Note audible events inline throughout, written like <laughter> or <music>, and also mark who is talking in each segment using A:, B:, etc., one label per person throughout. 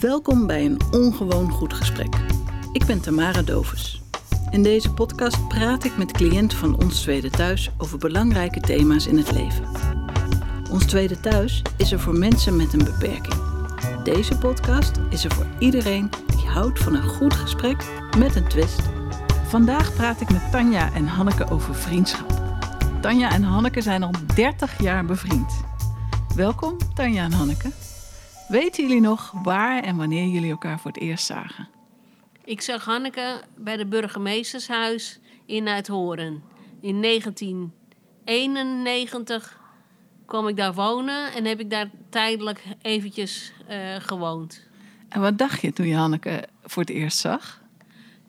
A: Welkom bij een ongewoon goed gesprek. Ik ben Tamara Doves. In deze podcast praat ik met cliënten van Ons Tweede Thuis over belangrijke thema's in het leven. Ons Tweede Thuis is er voor mensen met een beperking. Deze podcast is er voor iedereen die houdt van een goed gesprek met een twist. Vandaag praat ik met Tanja en Hanneke over vriendschap. Tanja en Hanneke zijn al 30 jaar bevriend. Welkom, Tanja en Hanneke. Weten jullie nog waar en wanneer jullie elkaar voor het eerst zagen?
B: Ik zag Hanneke bij de burgemeestershuis in Uithoren. In 1991 kwam ik daar wonen en heb ik daar tijdelijk eventjes eh, gewoond.
A: En wat dacht je toen je Hanneke voor het eerst zag?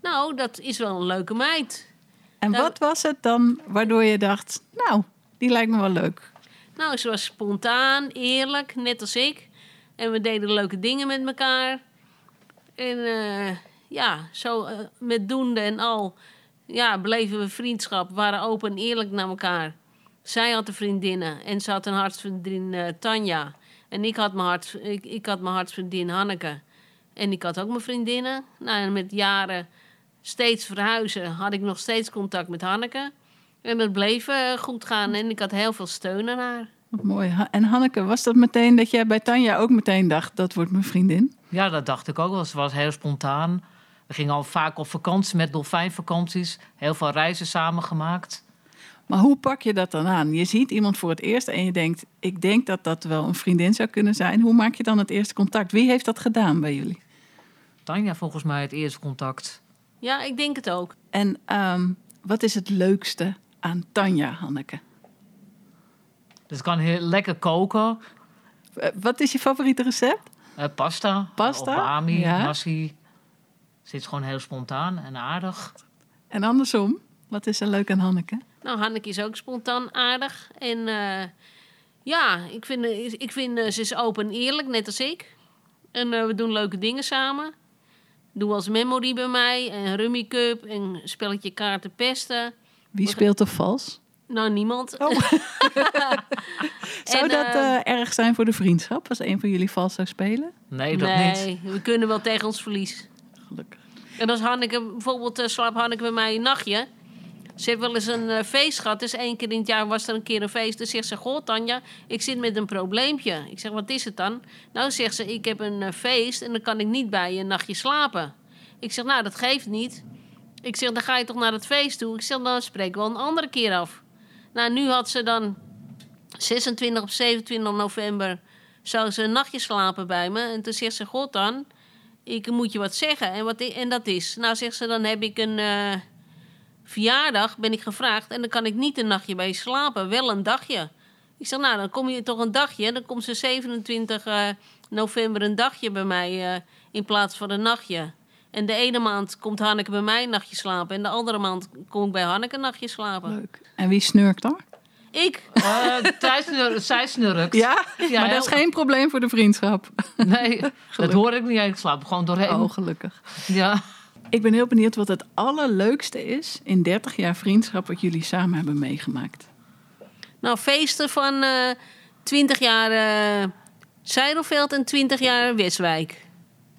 B: Nou, dat is wel een leuke meid.
A: En
B: Nou-
A: wat was het dan waardoor je dacht, nou, die lijkt me wel leuk?
B: Nou, ze was spontaan, eerlijk, net als ik. En we deden leuke dingen met elkaar. En eh, ja, zo eh, met doende en al ja, bleven we vriendschap, waren open en eerlijk naar elkaar. Zij had een vriendinnen en ze had een hartsvriendin eh, Tanja. En ik had, mijn hart, ik, ik had mijn hartsvriendin Hanneke. En ik had ook mijn vriendinnen. Nou, en met jaren steeds verhuizen had ik nog steeds contact met Hanneke. En dat bleef eh, goed gaan en ik had heel veel steun aan haar.
A: Wat mooi. Ha- En Hanneke, was dat meteen dat jij bij Tanja ook meteen dacht, dat wordt mijn vriendin?
C: Ja, dat dacht ik ook wel. Ze was heel spontaan. We gingen al vaak op vakantie met dolfijnvakanties. Heel veel reizen samen gemaakt.
A: Maar hoe pak je dat dan aan? Je ziet iemand voor het eerst en je denkt, ik denk dat dat wel een vriendin zou kunnen zijn. Hoe maak je dan het eerste contact? Wie heeft dat gedaan bij jullie?
C: Tanja volgens mij het eerste contact.
B: Ja, ik denk het ook.
A: En ehm, wat is het leukste aan Tanja, Hanneke?
C: Dus kan heel lekker koken.
A: Eh, Wat is je favoriete recept?
C: Eh, pasta.
A: Pasta?
C: Obami,
A: Ja.
C: nasi. Ze is gewoon heel spontaan en aardig.
A: En andersom, wat is er leuk aan Hanneke?
B: Nou, Hanneke is ook spontaan aardig. En eh, ja, ik vind, ik vind eh, ze is open en eerlijk, net als ik. En eh, we doen leuke dingen samen. Doe als memory bij mij en rummy cup en spelletje kaarten pesten.
A: Wie speelt er vals?
B: Nou, niemand. <laughs>
A: Oh. Zou
B: En,
A: dat
B: eh,
A: eh, erg zijn voor de vriendschap als een van jullie vals zou spelen?
C: Nee, dat niet.
B: nee, we kunnen wel tegen ons verlies.
A: Gelukkig.
B: En als Hanneke, bijvoorbeeld eh, slaap Hanneke bij mij een nachtje. Ze heeft wel eens een eh, feest gehad. Dus één keer in het jaar was er een keer een feest. Dan zegt ze, goh Tanja, ik zit met een probleempje. Ik zeg, wat is het dan? Nou zegt ze, ik heb een eh, feest en dan kan ik niet bij je een nachtje slapen. Ik zeg, nou dat geeft niet. Ik zeg, dan ga je toch naar het feest toe? Ik zeg, dan spreken we wel een andere keer af. Nou, nu had ze dan 26 of 27 november... zou ze een nachtje slapen bij me. En toen zegt ze, god dan ik moet je wat zeggen. En, wat i- en dat is. Nou, zegt ze, dan heb ik een eh, verjaardag, ben ik gevraagd. En dan kan ik niet een nachtje bij je slapen, wel een dagje. Ik zeg, nou, dan kom je toch een dagje. Dan komt ze 27 eh, november een dagje bij mij eh, in plaats van een nachtje. En de ene maand komt Hanneke bij mij een nachtje slapen. En de andere maand kom ik bij Hanneke een nachtje slapen.
A: Leuk. En wie snurkt daar?
B: Ik?
A: <laughs>
C: Eh, zij snur- zij snurkt.
A: Ja,
C: Ja,
A: maar dat is
C: heel-
A: geen probleem voor de vriendschap.
C: Nee, dat hoor ik niet. Ik slaap er gewoon doorheen.
A: Oh, gelukkig.
C: Ja.
A: Ik ben heel benieuwd wat het allerleukste is in 30 jaar vriendschap wat jullie samen hebben meegemaakt.
B: Nou, feesten van eh 20 jaar eh Zeidelveld en 20 jaar Westwijk.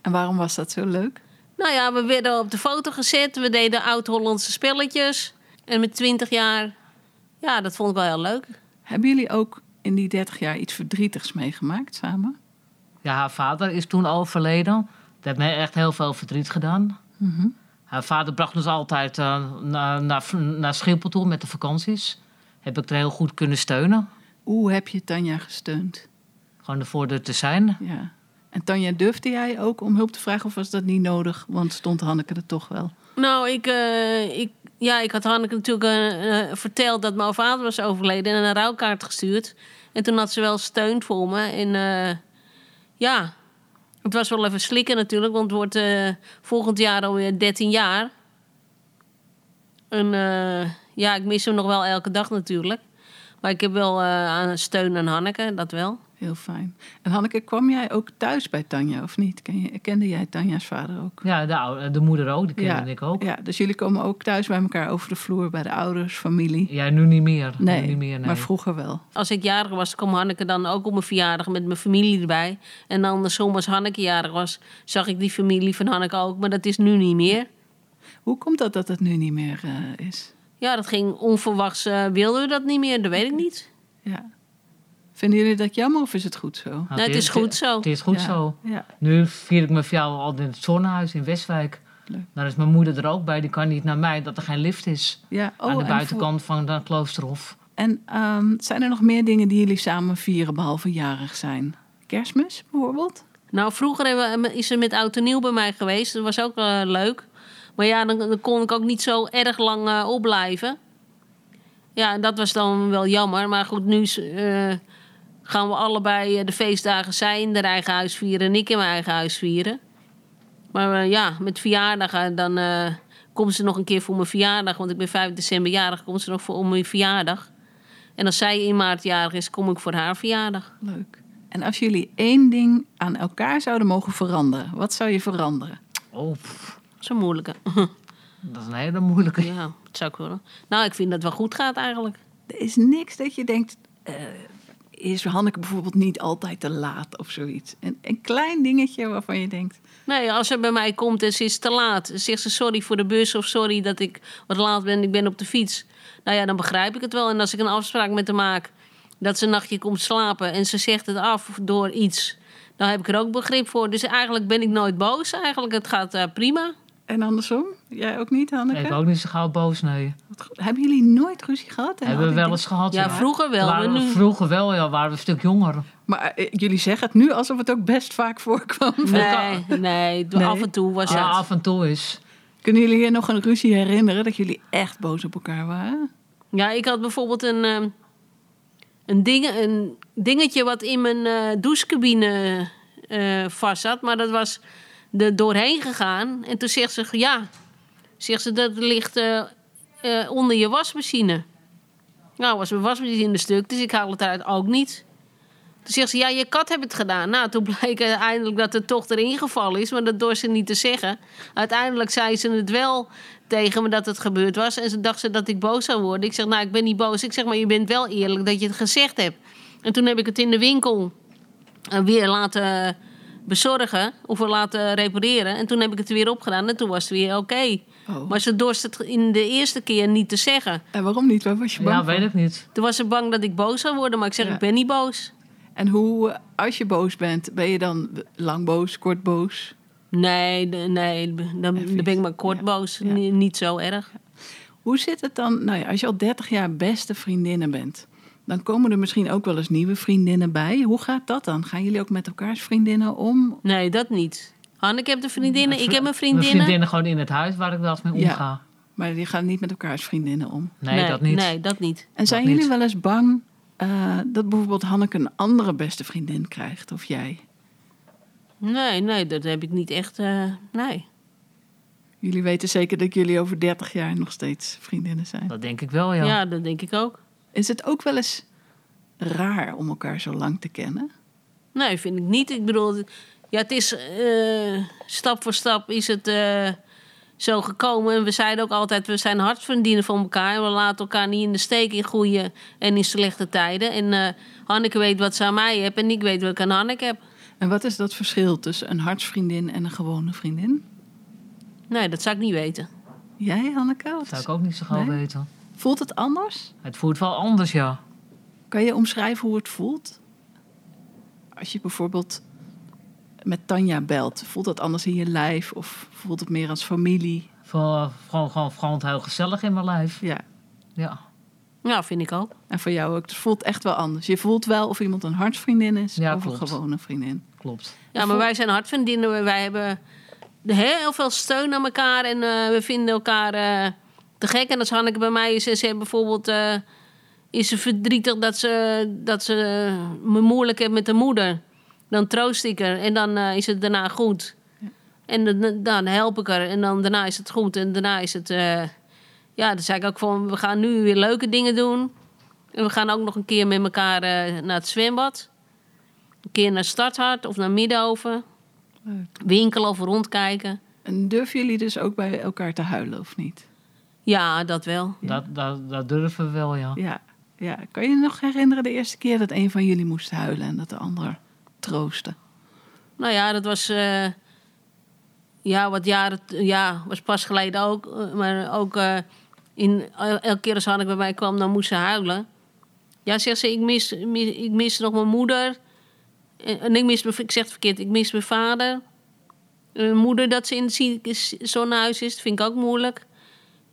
A: En waarom was dat zo leuk?
B: Nou ja, we werden op de foto gezet. We deden oud-Hollandse spelletjes. En met 20 jaar, ja, dat vond ik wel heel leuk.
A: Hebben jullie ook in die 30 jaar iets verdrietigs meegemaakt samen?
C: Ja, haar vader is toen overleden. Dat heeft mij echt heel veel verdriet gedaan.
A: Mhm.
C: Haar vader bracht ons altijd eh, naar, naar, naar Schiphol toe met de vakanties. Heb ik er heel goed kunnen steunen.
A: Hoe heb je Tanja gesteund?
C: Gewoon ervoor er te zijn.
A: Ja. En Tanja, durfde jij ook om hulp te vragen of was dat niet nodig? Want stond Hanneke er toch wel?
B: Nou, ik, eh, ik, ja, ik had Hanneke natuurlijk eh, eh, verteld dat mijn vader was overleden en een rouwkaart gestuurd. En toen had ze wel steun voor me. En eh, ja, het was wel even slikken natuurlijk, want het wordt eh, volgend jaar alweer 13 jaar. En eh, ja, ik mis hem nog wel elke dag natuurlijk. Maar ik heb wel eh, aan steun aan Hanneke, dat wel.
A: Heel fijn. En Hanneke, kwam jij ook thuis bij Tanja of niet? Ken je- kende jij Tanja's vader ook?
C: Ja, de, oude- de moeder ook, die kende ik ook.
A: Ja, dus jullie komen ook thuis bij elkaar over de vloer bij de ouders, familie?
C: Ja, nu niet meer. Nu
A: Nee,
C: niet meer, nee.
A: maar vroeger wel.
B: Als ik jarig was, kwam Hanneke dan ook op mijn verjaardag met mijn familie erbij. En andersom, als Hanneke jarig was, zag ik die familie van Hanneke ook. Maar dat is nu niet meer.
A: Hoe komt dat dat het nu niet meer eh, is?
B: Ja, dat ging onverwachts. eh, wilden we dat niet meer? Dat weet ik niet.
A: Ja. Vinden jullie dat jammer of is het goed zo?
C: Nou,
B: Nee, het is goed zo.
C: Het is goed
A: Ja,
C: zo.
A: Ja.
C: Nu vier ik mijn verjaardag al in het zonnehuis in Westwijk.
A: Leuk.
C: Daar is mijn moeder er ook bij. Die kan niet naar mij, dat er geen lift is.
A: ja. Oh,
C: aan de
A: en
C: buitenkant van de Kloosterhof.
A: voor- En, ehm, zijn er nog meer dingen die jullie samen vieren behalve jarig zijn? Kerstmis bijvoorbeeld?
B: Nou, vroeger hebben we- is ze met oud en nieuw bij mij geweest. Dat was ook eh, leuk. Maar ja, dan, dan kon ik ook niet zo erg lang eh, opblijven. Ja, en dat was dan wel jammer. Maar goed, nu is, eh, gaan we allebei eh, de feestdagen zij in haar eigen huis vieren... en ik in mijn eigen huis vieren. Maar eh, ja, met verjaardagen dan eh, komt ze nog een keer voor mijn verjaardag. Want ik ben 5 december jarig, komt ze nog voor om mijn verjaardag. En als zij in maart jarig is, kom ik voor haar verjaardag.
A: Leuk. En als jullie één ding aan elkaar zouden mogen veranderen, wat zou je veranderen?
C: Oh, pff,
B: Dat is een moeilijke. <laughs>
C: dat is een hele moeilijke.
B: Ja, <laughs> dat zou ik willen. Nou, ik vind dat het wel goed gaat eigenlijk.
A: Er is niks dat je denkt. eh, is Hanneke bijvoorbeeld niet altijd te laat of zoiets? Een, een klein dingetje waarvan je denkt.
B: Nee, als ze bij mij komt en ze is te laat, dan zegt ze sorry voor de bus of sorry dat ik wat laat ben, ik ben op de fiets. Nou ja, dan begrijp ik het wel. En als ik een afspraak met haar maak dat ze een nachtje komt slapen en ze zegt het af door iets, dan heb ik er ook begrip voor. Dus eigenlijk ben ik nooit boos. Eigenlijk, het gaat eh, prima.
A: En andersom? Jij ook niet, Hanneke?
C: Ik ook niet zo gauw boos, nee.
A: Wat goed. Hebben jullie nooit ruzie gehad? En
C: Hebben we
A: hadden
C: wel eens gehad.
B: Ja, vroeger wel,
C: Waren
B: maar
C: we
B: nu-
C: Vroeger wel, ja. Waren we een stuk jonger.
A: jullie- Maar eh, jullie zeggen het nu alsof het ook best vaak <laughs> voorkwam.
B: Nee, nee, Ah,
A: Nee.
B: af en toe was
C: Ja,
B: dat.
C: eh, af en toe is.
A: Kunnen jullie je nog een ruzie herinneren dat jullie echt boos op elkaar waren?
B: Ja, ik had bijvoorbeeld een, ehm, een, ding, een dingetje wat in mijn eh, douchecabine eh, vast zat. Maar dat was er doorheen gegaan. En toen zegt ze, ja, zegt ze, dat ligt eh, eh, onder je wasmachine. Nou, was mijn wasmachine stuk, dus ik haal het eruit ook niet. Toen zegt ze, ja, je kat heeft het gedaan. Nou, toen bleek uiteindelijk dat het toch erin gevallen is, maar dat door ze niet te zeggen. Uiteindelijk zei ze het wel tegen me dat het gebeurd was. En ze dacht ze dat ik boos zou worden. Ik zeg, nou, ik ben niet boos. Ik zeg, maar je bent wel eerlijk dat je het gezegd hebt. En toen heb ik het in de winkel eh, weer laten bezorgen of laten repareren. En toen heb ik het er weer opgedaan en toen was het weer oké.
A: Oh.
B: Maar ze dorst het in de eerste keer niet te zeggen.
A: En waarom niet? Waar was je bang
C: Ja,
A: voor?
C: weet ik niet.
B: Toen was ze bang dat ik boos zou worden, maar ik zeg,
A: Ja.
B: ik ben niet boos.
A: En hoe, eh, als je boos bent, ben je dan lang boos, kort boos?
B: Nee, de- nee, dan, dan ben ik maar kort
A: Ja.
B: boos.
A: Ja.
B: Ni- Niet zo erg.
A: Hoe zit het dan, nou ja, als je al 30 jaar beste vriendinnen bent, dan komen er misschien ook wel eens nieuwe vriendinnen bij. Hoe gaat dat dan? Gaan jullie ook met elkaars vriendinnen om?
B: Nee, dat niet. Hanneke heeft een vriendinnen, ik heb een
C: Mijn
B: vriendinnen.
C: vriendinnen gewoon in het huis waar ik wel eens mee
A: Ja.
C: omga.
A: Maar die gaan niet met elkaars vriendinnen om.
C: Nee, dat niet.
B: Nee, dat niet.
A: En zijn
C: niet.
A: jullie wel eens bang eh, dat bijvoorbeeld Hanneke een andere beste vriendin krijgt of jij?
B: Nee, nee, dat heb ik niet echt. eh, nee.
A: Jullie weten zeker dat jullie over 30 jaar nog steeds vriendinnen zijn.
C: Dat denk ik wel, ja.
B: Ja. dat denk ik ook.
A: Is het ook wel eens raar om elkaar zo lang te kennen?
B: Nee, vind ik niet. Ik bedoel, ja, het is eh, stap voor stap is het eh, zo gekomen. En we zeiden ook altijd, we zijn hartvriendinnen van elkaar. We laten elkaar niet in de steek in goede en in slechte tijden. En eh, Hanneke weet wat ze aan mij heeft en ik weet wat ik aan Hanneke heb.
A: En wat is dat verschil tussen een hartsvriendin en een gewone vriendin?
B: Nee, dat zou ik niet weten.
A: Jij, Hanneke? Wat
C: Dat zou
A: is-
C: ik ook niet zo gauw
A: Nee?
C: weten.
A: Voelt het anders?
C: Het voelt wel anders, ja.
A: Kan je omschrijven hoe het voelt? Als je bijvoorbeeld met Tanja belt, voelt dat anders in je lijf of voelt het meer als familie?
C: Gewoon, gewoon, gewoon, gewoon heel gezellig in mijn lijf.
A: Ja.
C: Ja.
B: Ja, Nou, vind ik ook.
A: En voor jou ook. Het voelt echt wel anders. Je voelt wel of iemand een hartsvriendin is
C: Ja,
A: of een
C: klopt.
A: gewone vriendin.
C: Klopt.
B: Ja, maar wij zijn hartvriendinnen. Wij hebben heel veel steun aan elkaar. En eh, we vinden elkaar eh, te gek. En als Hanneke bij mij is en ze heeft bijvoorbeeld... eh, is ze verdrietig dat ze, dat ze me moeilijk heeft met de moeder. Dan troost ik haar. En dan eh, is het daarna goed. En dan, dan help ik haar. En dan daarna is het goed. En daarna is het... eh, ja, dan zei ik ook van... We gaan nu weer leuke dingen doen. En we gaan ook nog een keer met elkaar eh, naar het zwembad. Een keer naar Stadhart of naar Middenhoven.
A: Leuk.
B: Winkelen of rondkijken.
A: En durven jullie dus ook bij elkaar te huilen of niet?
B: Ja, dat wel.
C: Dat, dat, dat durven we wel, ja.
A: Ja. ja. Kan je je nog herinneren de eerste keer dat een van jullie moest huilen en dat de ander troostte?
B: Nou ja, dat was. eh, ja, wat jaren. Ja, was pas geleden ook. eh, Maar ook. eh, in, el- elke keer als Hanneke bij mij kwam, dan moest ze huilen. Ja, zegt ze: Ik mis, mi- ik mis nog mijn moeder. En, en ik mis mijn. Ik zeg het verkeerd. Ik mis mijn vader. En Mijn moeder, dat ze in het zieke- zonnehuis is, dat vind ik ook moeilijk.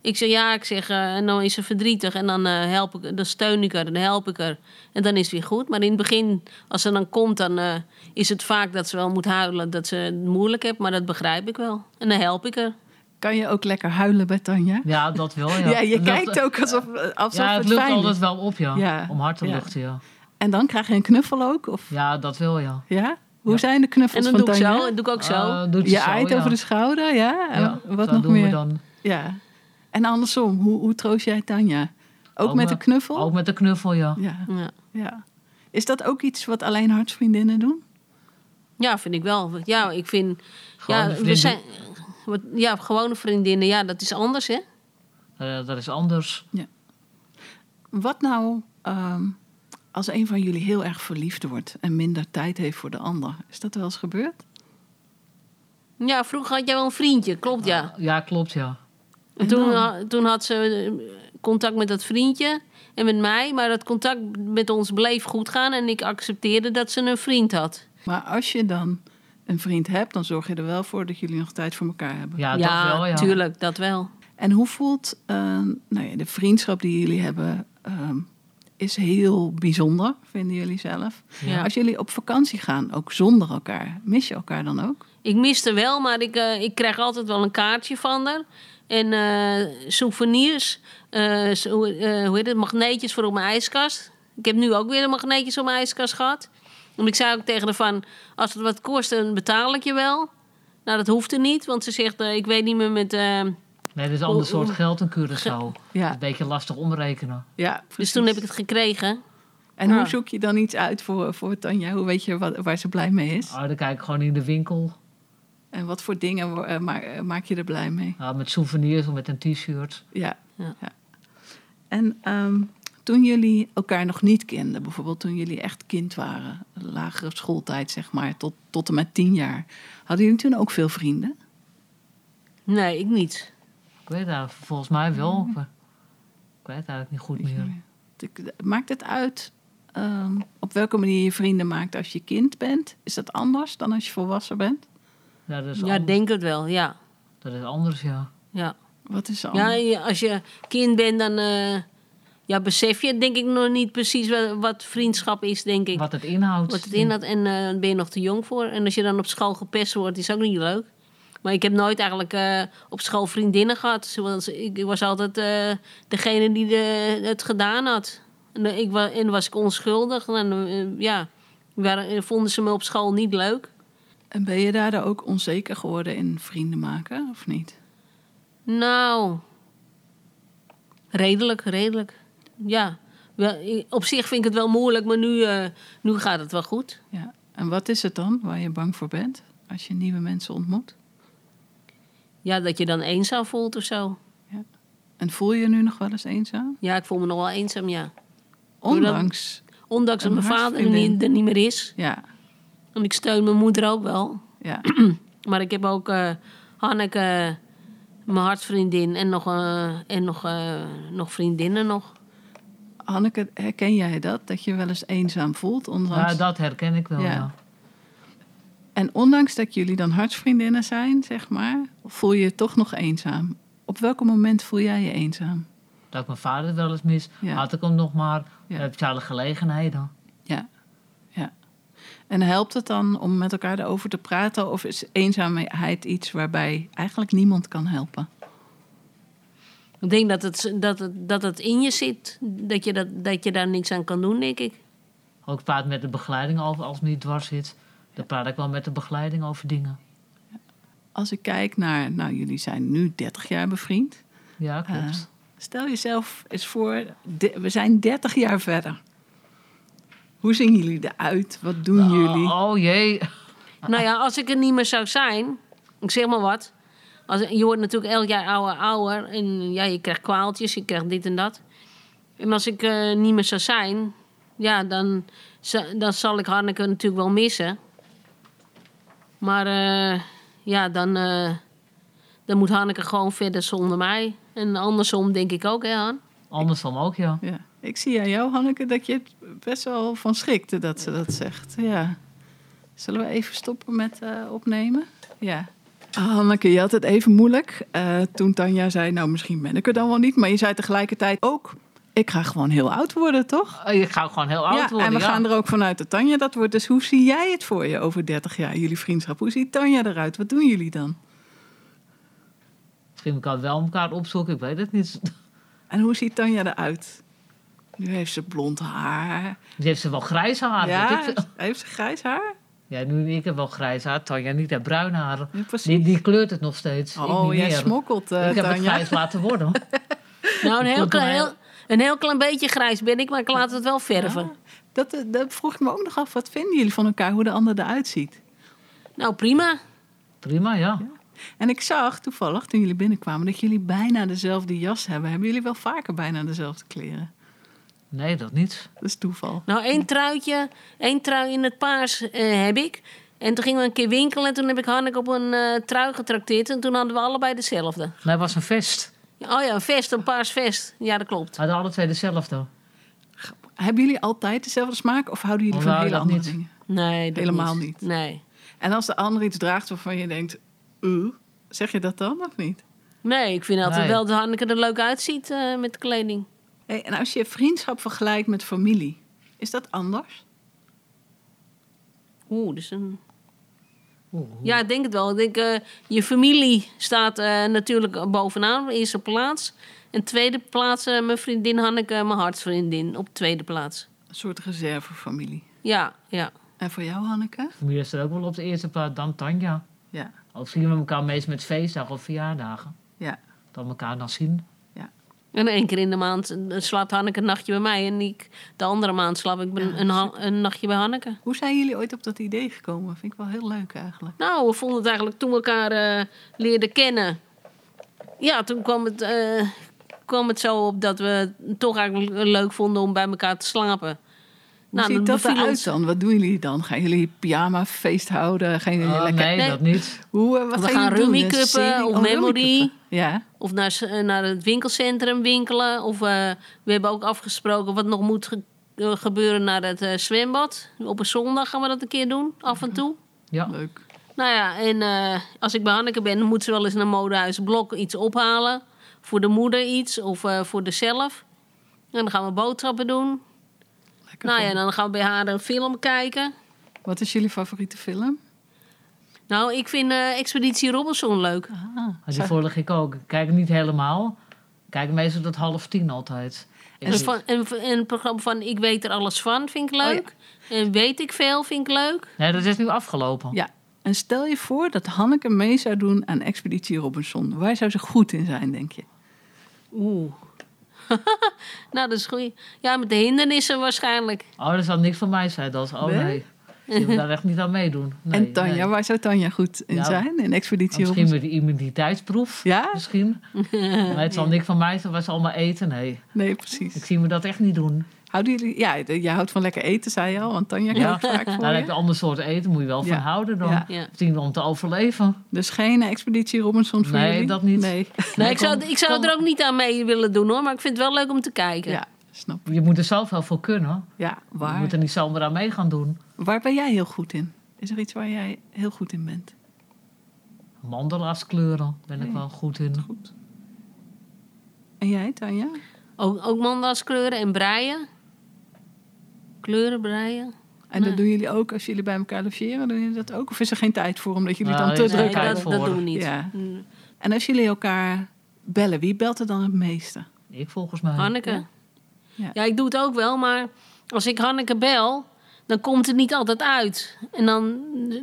B: Ik zeg ja, ik zeg. eh, en dan is ze verdrietig. En dan, eh, help ik, dan steun ik haar, dan help ik haar. En dan is het weer goed. Maar in het begin, als ze dan komt, dan. eh, is het vaak dat ze wel moet huilen dat ze het moeilijk heeft, maar dat begrijp ik wel. En dan help ik haar.
A: Kan je ook lekker huilen bij Tanja?
C: Ja, dat wel, ja.
A: <laughs> Ja, je
C: Dat-
A: kijkt ook alsof, alsof
C: Ja,
A: het,
C: het lucht
A: fijn is.
C: altijd wel op, ja.
A: Ja,
C: Om hard te
A: ja.
C: luchten, ja.
A: En dan krijg je een knuffel ook? Of,
C: Ja, dat wel, ja.
A: ja? Hoe
C: Ja.
A: zijn de
B: En
A: knuffels
B: dan
A: van
B: doe ik
A: Tanja?
B: zo, en doe ik ook zo.
C: Eh, doet ze
A: Je
C: zo,
A: aait
C: ja.
A: over de schouder, ja? En
C: Ja,
A: Wat
C: zo
A: nog
C: doen
A: meer?
C: We dan.
A: Ja. En andersom, hoe, hoe troost jij Tanja? Ook,
C: Ook
A: met
C: me-
A: een knuffel?
C: Ook met de knuffel, ja.
A: Ja,
B: Ja.
A: ja. Is dat ook iets wat alleen hartsvriendinnen doen?
B: ja, vind ik wel. Ja, ik vind.
C: Gewone
B: ja, we
C: vrienden.
B: zijn, wat, ja, gewone vriendinnen, ja, dat is anders, hè?
C: Eh, dat is anders.
A: Wat nou ehm, als een van jullie heel erg verliefd wordt en minder tijd heeft voor de ander? Is dat wel eens gebeurd?
B: Ja, vroeger had jij wel een vriendje, klopt ja.
C: Ja, klopt, ja.
B: En toen, ha- toen had ze eh, contact met dat vriendje en met mij, maar dat contact met ons bleef goed gaan en ik accepteerde dat ze een vriend had.
A: Maar als je dan een vriend hebt, dan zorg je er wel voor dat jullie nog tijd voor elkaar hebben.
C: Ja, dat wel, ja.
B: tuurlijk, dat wel.
A: En hoe voelt eh, nou ja, de vriendschap die jullie hebben? ehm, is heel bijzonder, vinden jullie zelf.
B: Ja.
A: Als jullie op vakantie gaan, ook zonder elkaar, mis je elkaar dan ook?
B: Ik miste wel, maar ik, eh, ik krijg altijd wel een kaartje van haar. En eh, souvenirs, eh, zo- eh, hoe heet het, magneetjes voor op mijn ijskast. Ik heb nu ook weer een magneetjes op mijn ijskast gehad. Want ik zei ook tegen haar van, als het wat kost, dan betaal ik je wel. Nou, dat hoefde niet, want ze zegt, eh, ik weet niet meer met... eh,
C: Nee, dat is een ander
B: Hoe- hoe-
C: soort geld dan Curaçao. Dat is
A: Ja,
C: een beetje lastig omrekenen.
A: ja
B: dus
A: precies.
B: toen heb ik het Ah. gekregen.
A: En
B: Ja.
A: hoe zoek je dan iets uit voor, voor Tanja? Hoe weet je wat, waar ze blij mee is?
C: Ah, dan kijk ik gewoon in de winkel.
A: En wat voor dingen wo- eh, ma- eh, maak je er blij mee?
C: Ah, met souvenirs of met een t-shirt.
A: Ja. ja.
B: Ja.
A: En ehm, toen jullie elkaar nog niet kenden, bijvoorbeeld toen jullie echt kind waren, lagere schooltijd zeg maar, tot, tot en met tien jaar, hadden jullie toen ook veel vrienden?
B: Nee, ik niet.
C: Ik weet dat volgens mij wel. Ik ik weet het eigenlijk niet goed
A: Weet je
C: meer.
A: meer. Het- Maakt het uit ehm, op welke manier je vrienden maakt als je kind bent? Is dat anders dan als je volwassen bent?
C: Ja, dat, is
B: Ja,
C: an-
B: denk het wel, ja.
C: dat is anders, ja.
B: ja.
A: Wat is er
B: Ja,
A: anders?
B: je- als je kind bent, dan eh, ja, besef je denk ik nog niet precies wat, wat vriendschap is, denk ik. Wat,
C: Wat het inhoudt.
B: het inhoudt en eh, daar ben je nog te jong voor. En als je dan op school gepest wordt, is ook niet leuk. Maar ik heb nooit eigenlijk eh, op school vriendinnen gehad. Zoals, ik, ik was altijd eh, degene die de, het gedaan had. En, eh, ik, wa- en was ik onschuldig. En eh, ja, waren- vonden ze me op school niet leuk.
A: En ben je daardoor ook onzeker geworden in vrienden maken, of niet?
B: Nou, redelijk, redelijk. Ja, wel, i- op zich vind ik het wel moeilijk, maar nu, eh, nu gaat het wel goed.
A: Ja. En wat is het dan waar je bang voor bent als je nieuwe mensen ontmoet?
B: Ja, dat je dan eenzaam voelt of zo.
A: En voel je je nu nog wel eens eenzaam?
B: Ja, ik voel me nog wel eenzaam, ja.
A: Ondanks.
B: Ondanks dat
A: Een
B: mijn vader er
A: hartsvriendin.
B: niet, er niet meer is.
A: Ja,
B: En ik steun mijn moeder ook wel.
A: ja. <clears throat>
B: Maar ik heb ook eh, Hanneke, mijn hartvriendin, en nog, eh, en nog, eh, nog vriendinnen nog.
A: Hanneke, herken jij dat? Dat je wel eens eenzaam voelt? Ondanks...
C: Ja, Nou, dat herken ik wel,
A: Ja.
C: ja.
A: En ondanks dat jullie dan hartsvriendinnen zijn, zeg maar, voel je je toch nog eenzaam. Op welk moment voel jij je eenzaam?
C: Dat ik mijn vader het wel eens mis.
A: Ja.
C: Had ik hem nog maar.
A: Ja.
C: Heb je alle gelegenheden.
A: Ja, ja. En helpt het dan om met elkaar erover te praten? Of is eenzaamheid iets waarbij eigenlijk niemand kan helpen?
B: Ik denk dat het, dat, het, dat het in je zit. Dat je, dat, dat je daar niks aan kan doen, denk ik.
C: Ook ik praat met de begeleiding over als het niet dwars zit. Dan praat ik wel met de begeleiding over dingen.
A: Als ik kijk naar, nou jullie zijn nu 30 jaar bevriend.
C: Ja, klopt.
A: Eh, Stel jezelf eens voor, de- we zijn 30 jaar verder. Hoe zien jullie eruit? Wat doen jullie?
C: Oh, oh jee. <laughs>
B: Nou ja, als ik er niet meer zou zijn, ik zeg maar wat. Als, je wordt natuurlijk elk jaar ouder, ouder. En ja, je krijgt kwaaltjes, je krijgt dit en dat. En als ik eh, niet meer zou zijn, ja, dan, za- dan zal ik Hanneke natuurlijk wel missen. Maar eh, ja, dan, eh, dan moet Hanneke gewoon verder zonder mij. En andersom denk ik ook, hè, Han?
C: Andersom ook, ja.
A: Ja. Ik zie aan jou, Hanneke, dat je het best wel van schrikte dat ze dat zegt. Ja. Zullen we even stoppen met eh, opnemen? Ja. Ah, Hanneke, je had het even moeilijk eh, toen Tanja zei... nou, misschien ben ik er dan wel niet. Maar je zei tegelijkertijd ook... ik ga gewoon heel oud worden, toch?
C: Eh, Je gaat gewoon heel oud
A: ja,
C: worden,
A: en we
C: ja.
A: gaan er ook vanuit dat Tanja dat wordt. Dus hoe zie jij het voor je over 30 jaar, jullie vriendschap? Hoe ziet Tanja eruit? Wat doen jullie dan?
C: Misschien kan wel elkaar opzoeken, ik weet het niet. <laughs>
A: En hoe ziet Tanja eruit? Nu heeft ze blond haar.
C: Nu heeft ze wel grijs haar. weet
A: ja,
C: Ah, ik <laughs> veel.
A: heeft ze grijs haar?
C: ja, nu ik heb wel grijs haar, Tanja niet, en bruin haar.
A: Ja, precies.
C: Die, die kleurt het nog steeds. Ik
A: Oh,
C: niet
A: jij
C: meer.
A: smokkelt, eh,
C: Ik heb het
A: Tanja.
C: grijs laten worden.
A: <laughs>
B: Nou, een heel,
C: Klopt,
B: klein,
C: maar heel-
B: heel, een heel klein beetje grijs ben ik, maar ik laat het wel verven.
A: Dat, eh, dat vroeg ik me ook nog af. Wat vinden jullie van elkaar, hoe de ander eruit ziet?
B: Nou, prima.
C: Prima, ja.
A: En ik zag toevallig, toen jullie binnenkwamen, dat jullie bijna dezelfde jas hebben. Hebben jullie wel vaker bijna dezelfde kleren?
C: Nee, dat niet.
A: Dat is toeval.
B: Nou, één truitje, één trui in het paars eh, heb ik. En toen gingen we een keer winkelen en toen heb ik Hanneke op een eh, trui getrakteerd. En toen hadden we allebei dezelfde.
C: Nee, het was een vest.
B: Oh ja, een vest, een paars vest. Ja, dat klopt.
C: We hadden alle twee dezelfde.
A: Hebben jullie altijd dezelfde smaak of houden jullie van
C: Nou,
A: hele
C: dat
A: andere
C: niet.
A: dingen?
B: Nee, dat
A: Helemaal niet.
B: Nee.
A: En als de ander iets draagt waarvan je denkt, "Oeh", zeg je dat dan of niet?
B: Nee, ik vind altijd
C: Nee.
B: wel dat Hanneke er leuk uitziet eh, met de kleding.
A: Hey, en als je vriendschap vergelijkt met familie, is dat anders?
B: Oeh, dus een...
C: Oeh, oeh.
B: Ja, ik denk het wel. Ik denk, eh, je familie staat eh, natuurlijk bovenaan, op eerste plaats. En tweede plaats, eh, mijn vriendin Hanneke, mijn hartsvriendin, op tweede plaats.
A: Een soort reservefamilie.
B: Ja, ja.
A: En voor jou, Hanneke?
C: Familie is er ook wel op de eerste plaats, dan Tanja.
A: Ja,
C: Al zien we elkaar meest met feestdagen of verjaardagen.
A: ja.
C: Dan elkaar dan zien.
B: En één keer in de maand eh, slaapt Hanneke een nachtje bij mij. En ik, de andere maand slaap ik ben- een, ha- een nachtje bij Hanneke.
A: Hoe zijn jullie ooit op dat idee gekomen? Vind ik wel heel leuk eigenlijk.
B: Nou, we vonden het eigenlijk toen we elkaar eh, leerden kennen. Ja, toen kwam het, eh, kwam het zo op dat we het toch eigenlijk leuk vonden om bij elkaar te slapen.
A: Hoe
B: Nou,
A: ziet
B: dan
A: dat
B: beviel
A: eruit
B: ons-
A: dan? Wat doen jullie dan? Gaan jullie pyjama feest houden? Gaan jullie
C: Oh,
A: lekker...
C: nee,
B: Nee.
C: dat niet.
A: Hoe, eh, wat
B: We
A: gaan,
B: gaan
A: jullie doen?
B: rummikuppen
A: Een serie?
B: of
A: Oh,
B: memory.
A: rummikuppen. Ja.
B: Of naar, s- eh, naar het winkelcentrum winkelen. Of eh, we hebben ook afgesproken wat nog moet ge- eh, gebeuren naar het eh, zwembad. Op een zondag gaan we dat een keer doen, af en toe.
A: <laughs>
C: Ja.
A: leuk.
B: Nou ja, en eh, als ik bij Hanneke ben, dan moet ze wel eens naar Modehuis Blok iets ophalen. Voor de moeder iets of eh, voor dezelf. En dan gaan we boodschappen doen.
A: Lekker
B: nou ja,
A: gewoon.
B: en dan gaan we bij haar een film kijken.
A: Wat is jullie favoriete film?
B: Nou, ik vind eh, Expeditie Robinson leuk.
A: Ah,
C: Maar die volg ik ook. Ik Kijk niet helemaal. Ik Kijk meestal tot half tien altijd. Ik
B: En,
C: weet-
B: van, en, en het programma van Ik weet er alles van vind ik leuk. En Weet ik veel vind ik leuk.
C: Nee, dat is nu afgelopen.
A: Ja. En stel je voor dat Hanneke mee zou doen aan Expeditie Robinson. Waar zou ze goed in zijn, denk je?
B: Oeh. <laughs> nou, dat is goed. Ja, met de hindernissen waarschijnlijk.
C: Oh, dat zal niks van mij zijn. Dat is, oh
A: Nee?
C: nee. Je moet daar echt niet aan meedoen. Nee,
A: en Tanja,
C: nee.
A: waar zou Tanja goed in
C: Ja. Oh,
A: zijn? In Expeditie
C: Misschien
A: Robinson?
C: met die immuniteitsproef.
A: Ja? <laughs>
C: Misschien. Maar het zal niks van mij zijn. was allemaal eten. Nee,
A: Nee,
C: ik
A: precies.
C: zie me dat echt niet doen.
A: Houden jullie... Ja, de- jij houdt van lekker eten, zei je al. Want Tanja
C: Ja. Nou,
A: kookt vaak voor
C: Daar
A: je.
C: heb je ander soort eten. Moet je wel
A: Ja.
C: van houden dan.
A: Ja.
B: Ja.
C: Misschien om te overleven.
A: Dus geen eh, Expeditie Robinson voor
C: Nee,
A: jullie?
C: dat niet.
A: Nee.
B: Nou, ik zou,
C: kom-
B: ik zou
C: kom-
B: er ook niet aan mee willen doen hoor, maar ik vind het wel leuk om te kijken.
A: <laughs> Ja, snap.
C: Je moet er zelf wel voor kunnen.
A: Ja,
C: Je
A: waar?
C: moet er niet zomaar aan mee gaan doen.
A: Waar ben jij heel goed in? Is er iets waar jij heel goed in bent?
C: Mandala's kleuren ben ik
A: Nee.
C: wel goed in.
A: Goed. En jij, Tanja?
B: Ook, ook manda's kleuren en breien. Kleuren breien.
A: En dat doen jullie ook als jullie bij elkaar logeren? Doen jullie dat ook? Of is er geen tijd voor omdat jullie
C: Nou,
A: dan te
C: is er
A: druk
C: geen tijd
A: hebben?
B: dat, dat doen we niet.
A: Ja.
B: Mm,
A: En als jullie elkaar bellen, wie belt er dan het meeste?
C: Ik volgens mij.
B: Hanneke. Ja.
A: Ja.
B: ik doe het ook wel, maar als ik Hanneke bel, dan komt het niet altijd uit. En dan,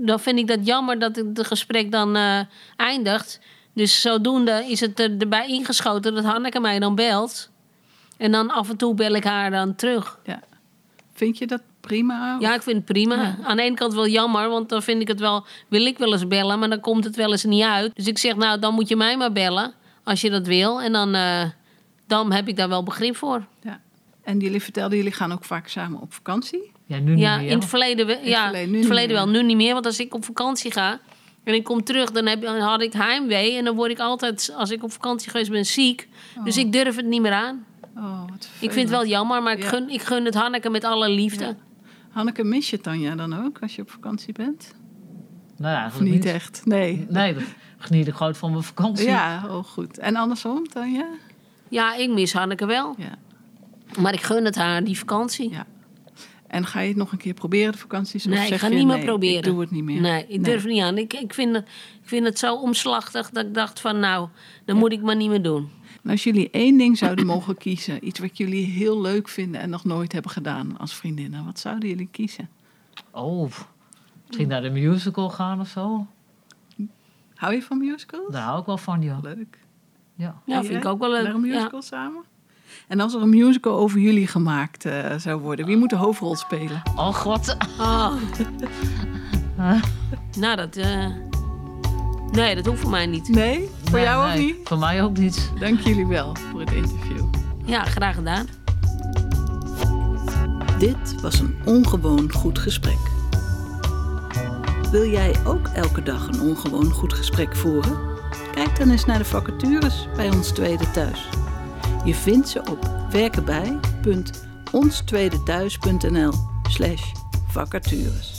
B: dan vind ik dat jammer dat het gesprek dan eh, eindigt. Dus zodoende is het er, erbij ingeschoten dat Hanneke mij dan belt. En dan af en toe bel ik haar dan terug.
A: Ja. Vind je dat prima?
B: Ja, ik vind het prima.
A: Oh. Ja.
B: Aan de ene kant wel jammer, want dan vind ik het wel... wil ik wel eens bellen, maar dan komt het wel eens niet uit. Dus ik zeg, nou, dan moet je mij maar bellen als je dat wil. En dan, eh, dan heb ik daar wel begrip voor.
A: Ja. En jullie vertelden, jullie gaan ook vaak samen op vakantie.
C: Ja, nu
B: Ja,
C: niet meer.
B: in het verleden, we-
A: het
B: ja,
A: verleden nu
B: het verleden
A: niet
B: wel.
A: meer.
B: Nu niet meer, want als ik op vakantie ga en ik kom terug, dan, heb, dan had ik heimwee. En dan word ik altijd, als ik op vakantie geweest ben, ziek. Dus ik durf het niet meer aan.
A: Oh, wat
B: Ik vind het wel jammer, maar ik
A: Ja.
B: gun, ik gun het Hanneke met alle liefde.
A: Ja. Hanneke, mis je Tanja dan ook als je op vakantie bent?
C: Nou,
A: Of
C: eigenlijk
A: niet
C: niet.
A: echt? Nee.
C: Nee, ik geniet ik gewoon van mijn vakantie.
A: Ja, oh goed. En andersom, Tanja?
B: Ja, ik mis Hanneke wel.
A: Ja.
B: Maar ik gun het haar, die vakantie.
A: Ja. En ga je het nog een keer proberen, de vakanties? of
B: Nee, ik
A: zeg
B: ga
A: je,
B: niet meer
A: nee,
B: proberen.
A: Ik doe het niet meer.
B: Nee, ik durf niet aan. Ik, ik, vind het, ik vind het zo omslachtig dat ik dacht van nou, dan moet ik maar niet meer doen.
A: En als jullie één ding zouden mogen kiezen, iets wat jullie heel leuk vinden en nog nooit hebben gedaan als vriendinnen, wat zouden jullie kiezen?
C: Oh, misschien naar de musical gaan of zo.
A: Hou je van musicals?
C: Daar hou ik wel van, ja.
A: Leuk.
C: ja.
B: Ja,
A: En
B: vind ik
A: jij?
B: ook wel leuk.
A: Naar een musical
B: Ja.
A: samen? En als er een musical over jullie gemaakt eh, zou worden, wie moet de hoofdrol spelen?
C: Oh god.
B: Oh. <laughs> nou, dat. eh, Nee, dat hoeft voor mij niet.
A: Nee? Voor
C: Nee,
A: jou
C: nee.
A: ook niet?
C: Voor mij ook niet.
A: Dank jullie wel voor het interview.
B: Ja, graag gedaan.
A: Dit was een ongewoon goed gesprek. Wil jij ook elke dag een ongewoon goed gesprek voeren? Kijk dan eens naar de vacatures bij Ons Tweede Thuis. Je vindt ze op werkenbij.onstweedethuis.nl slash vacatures.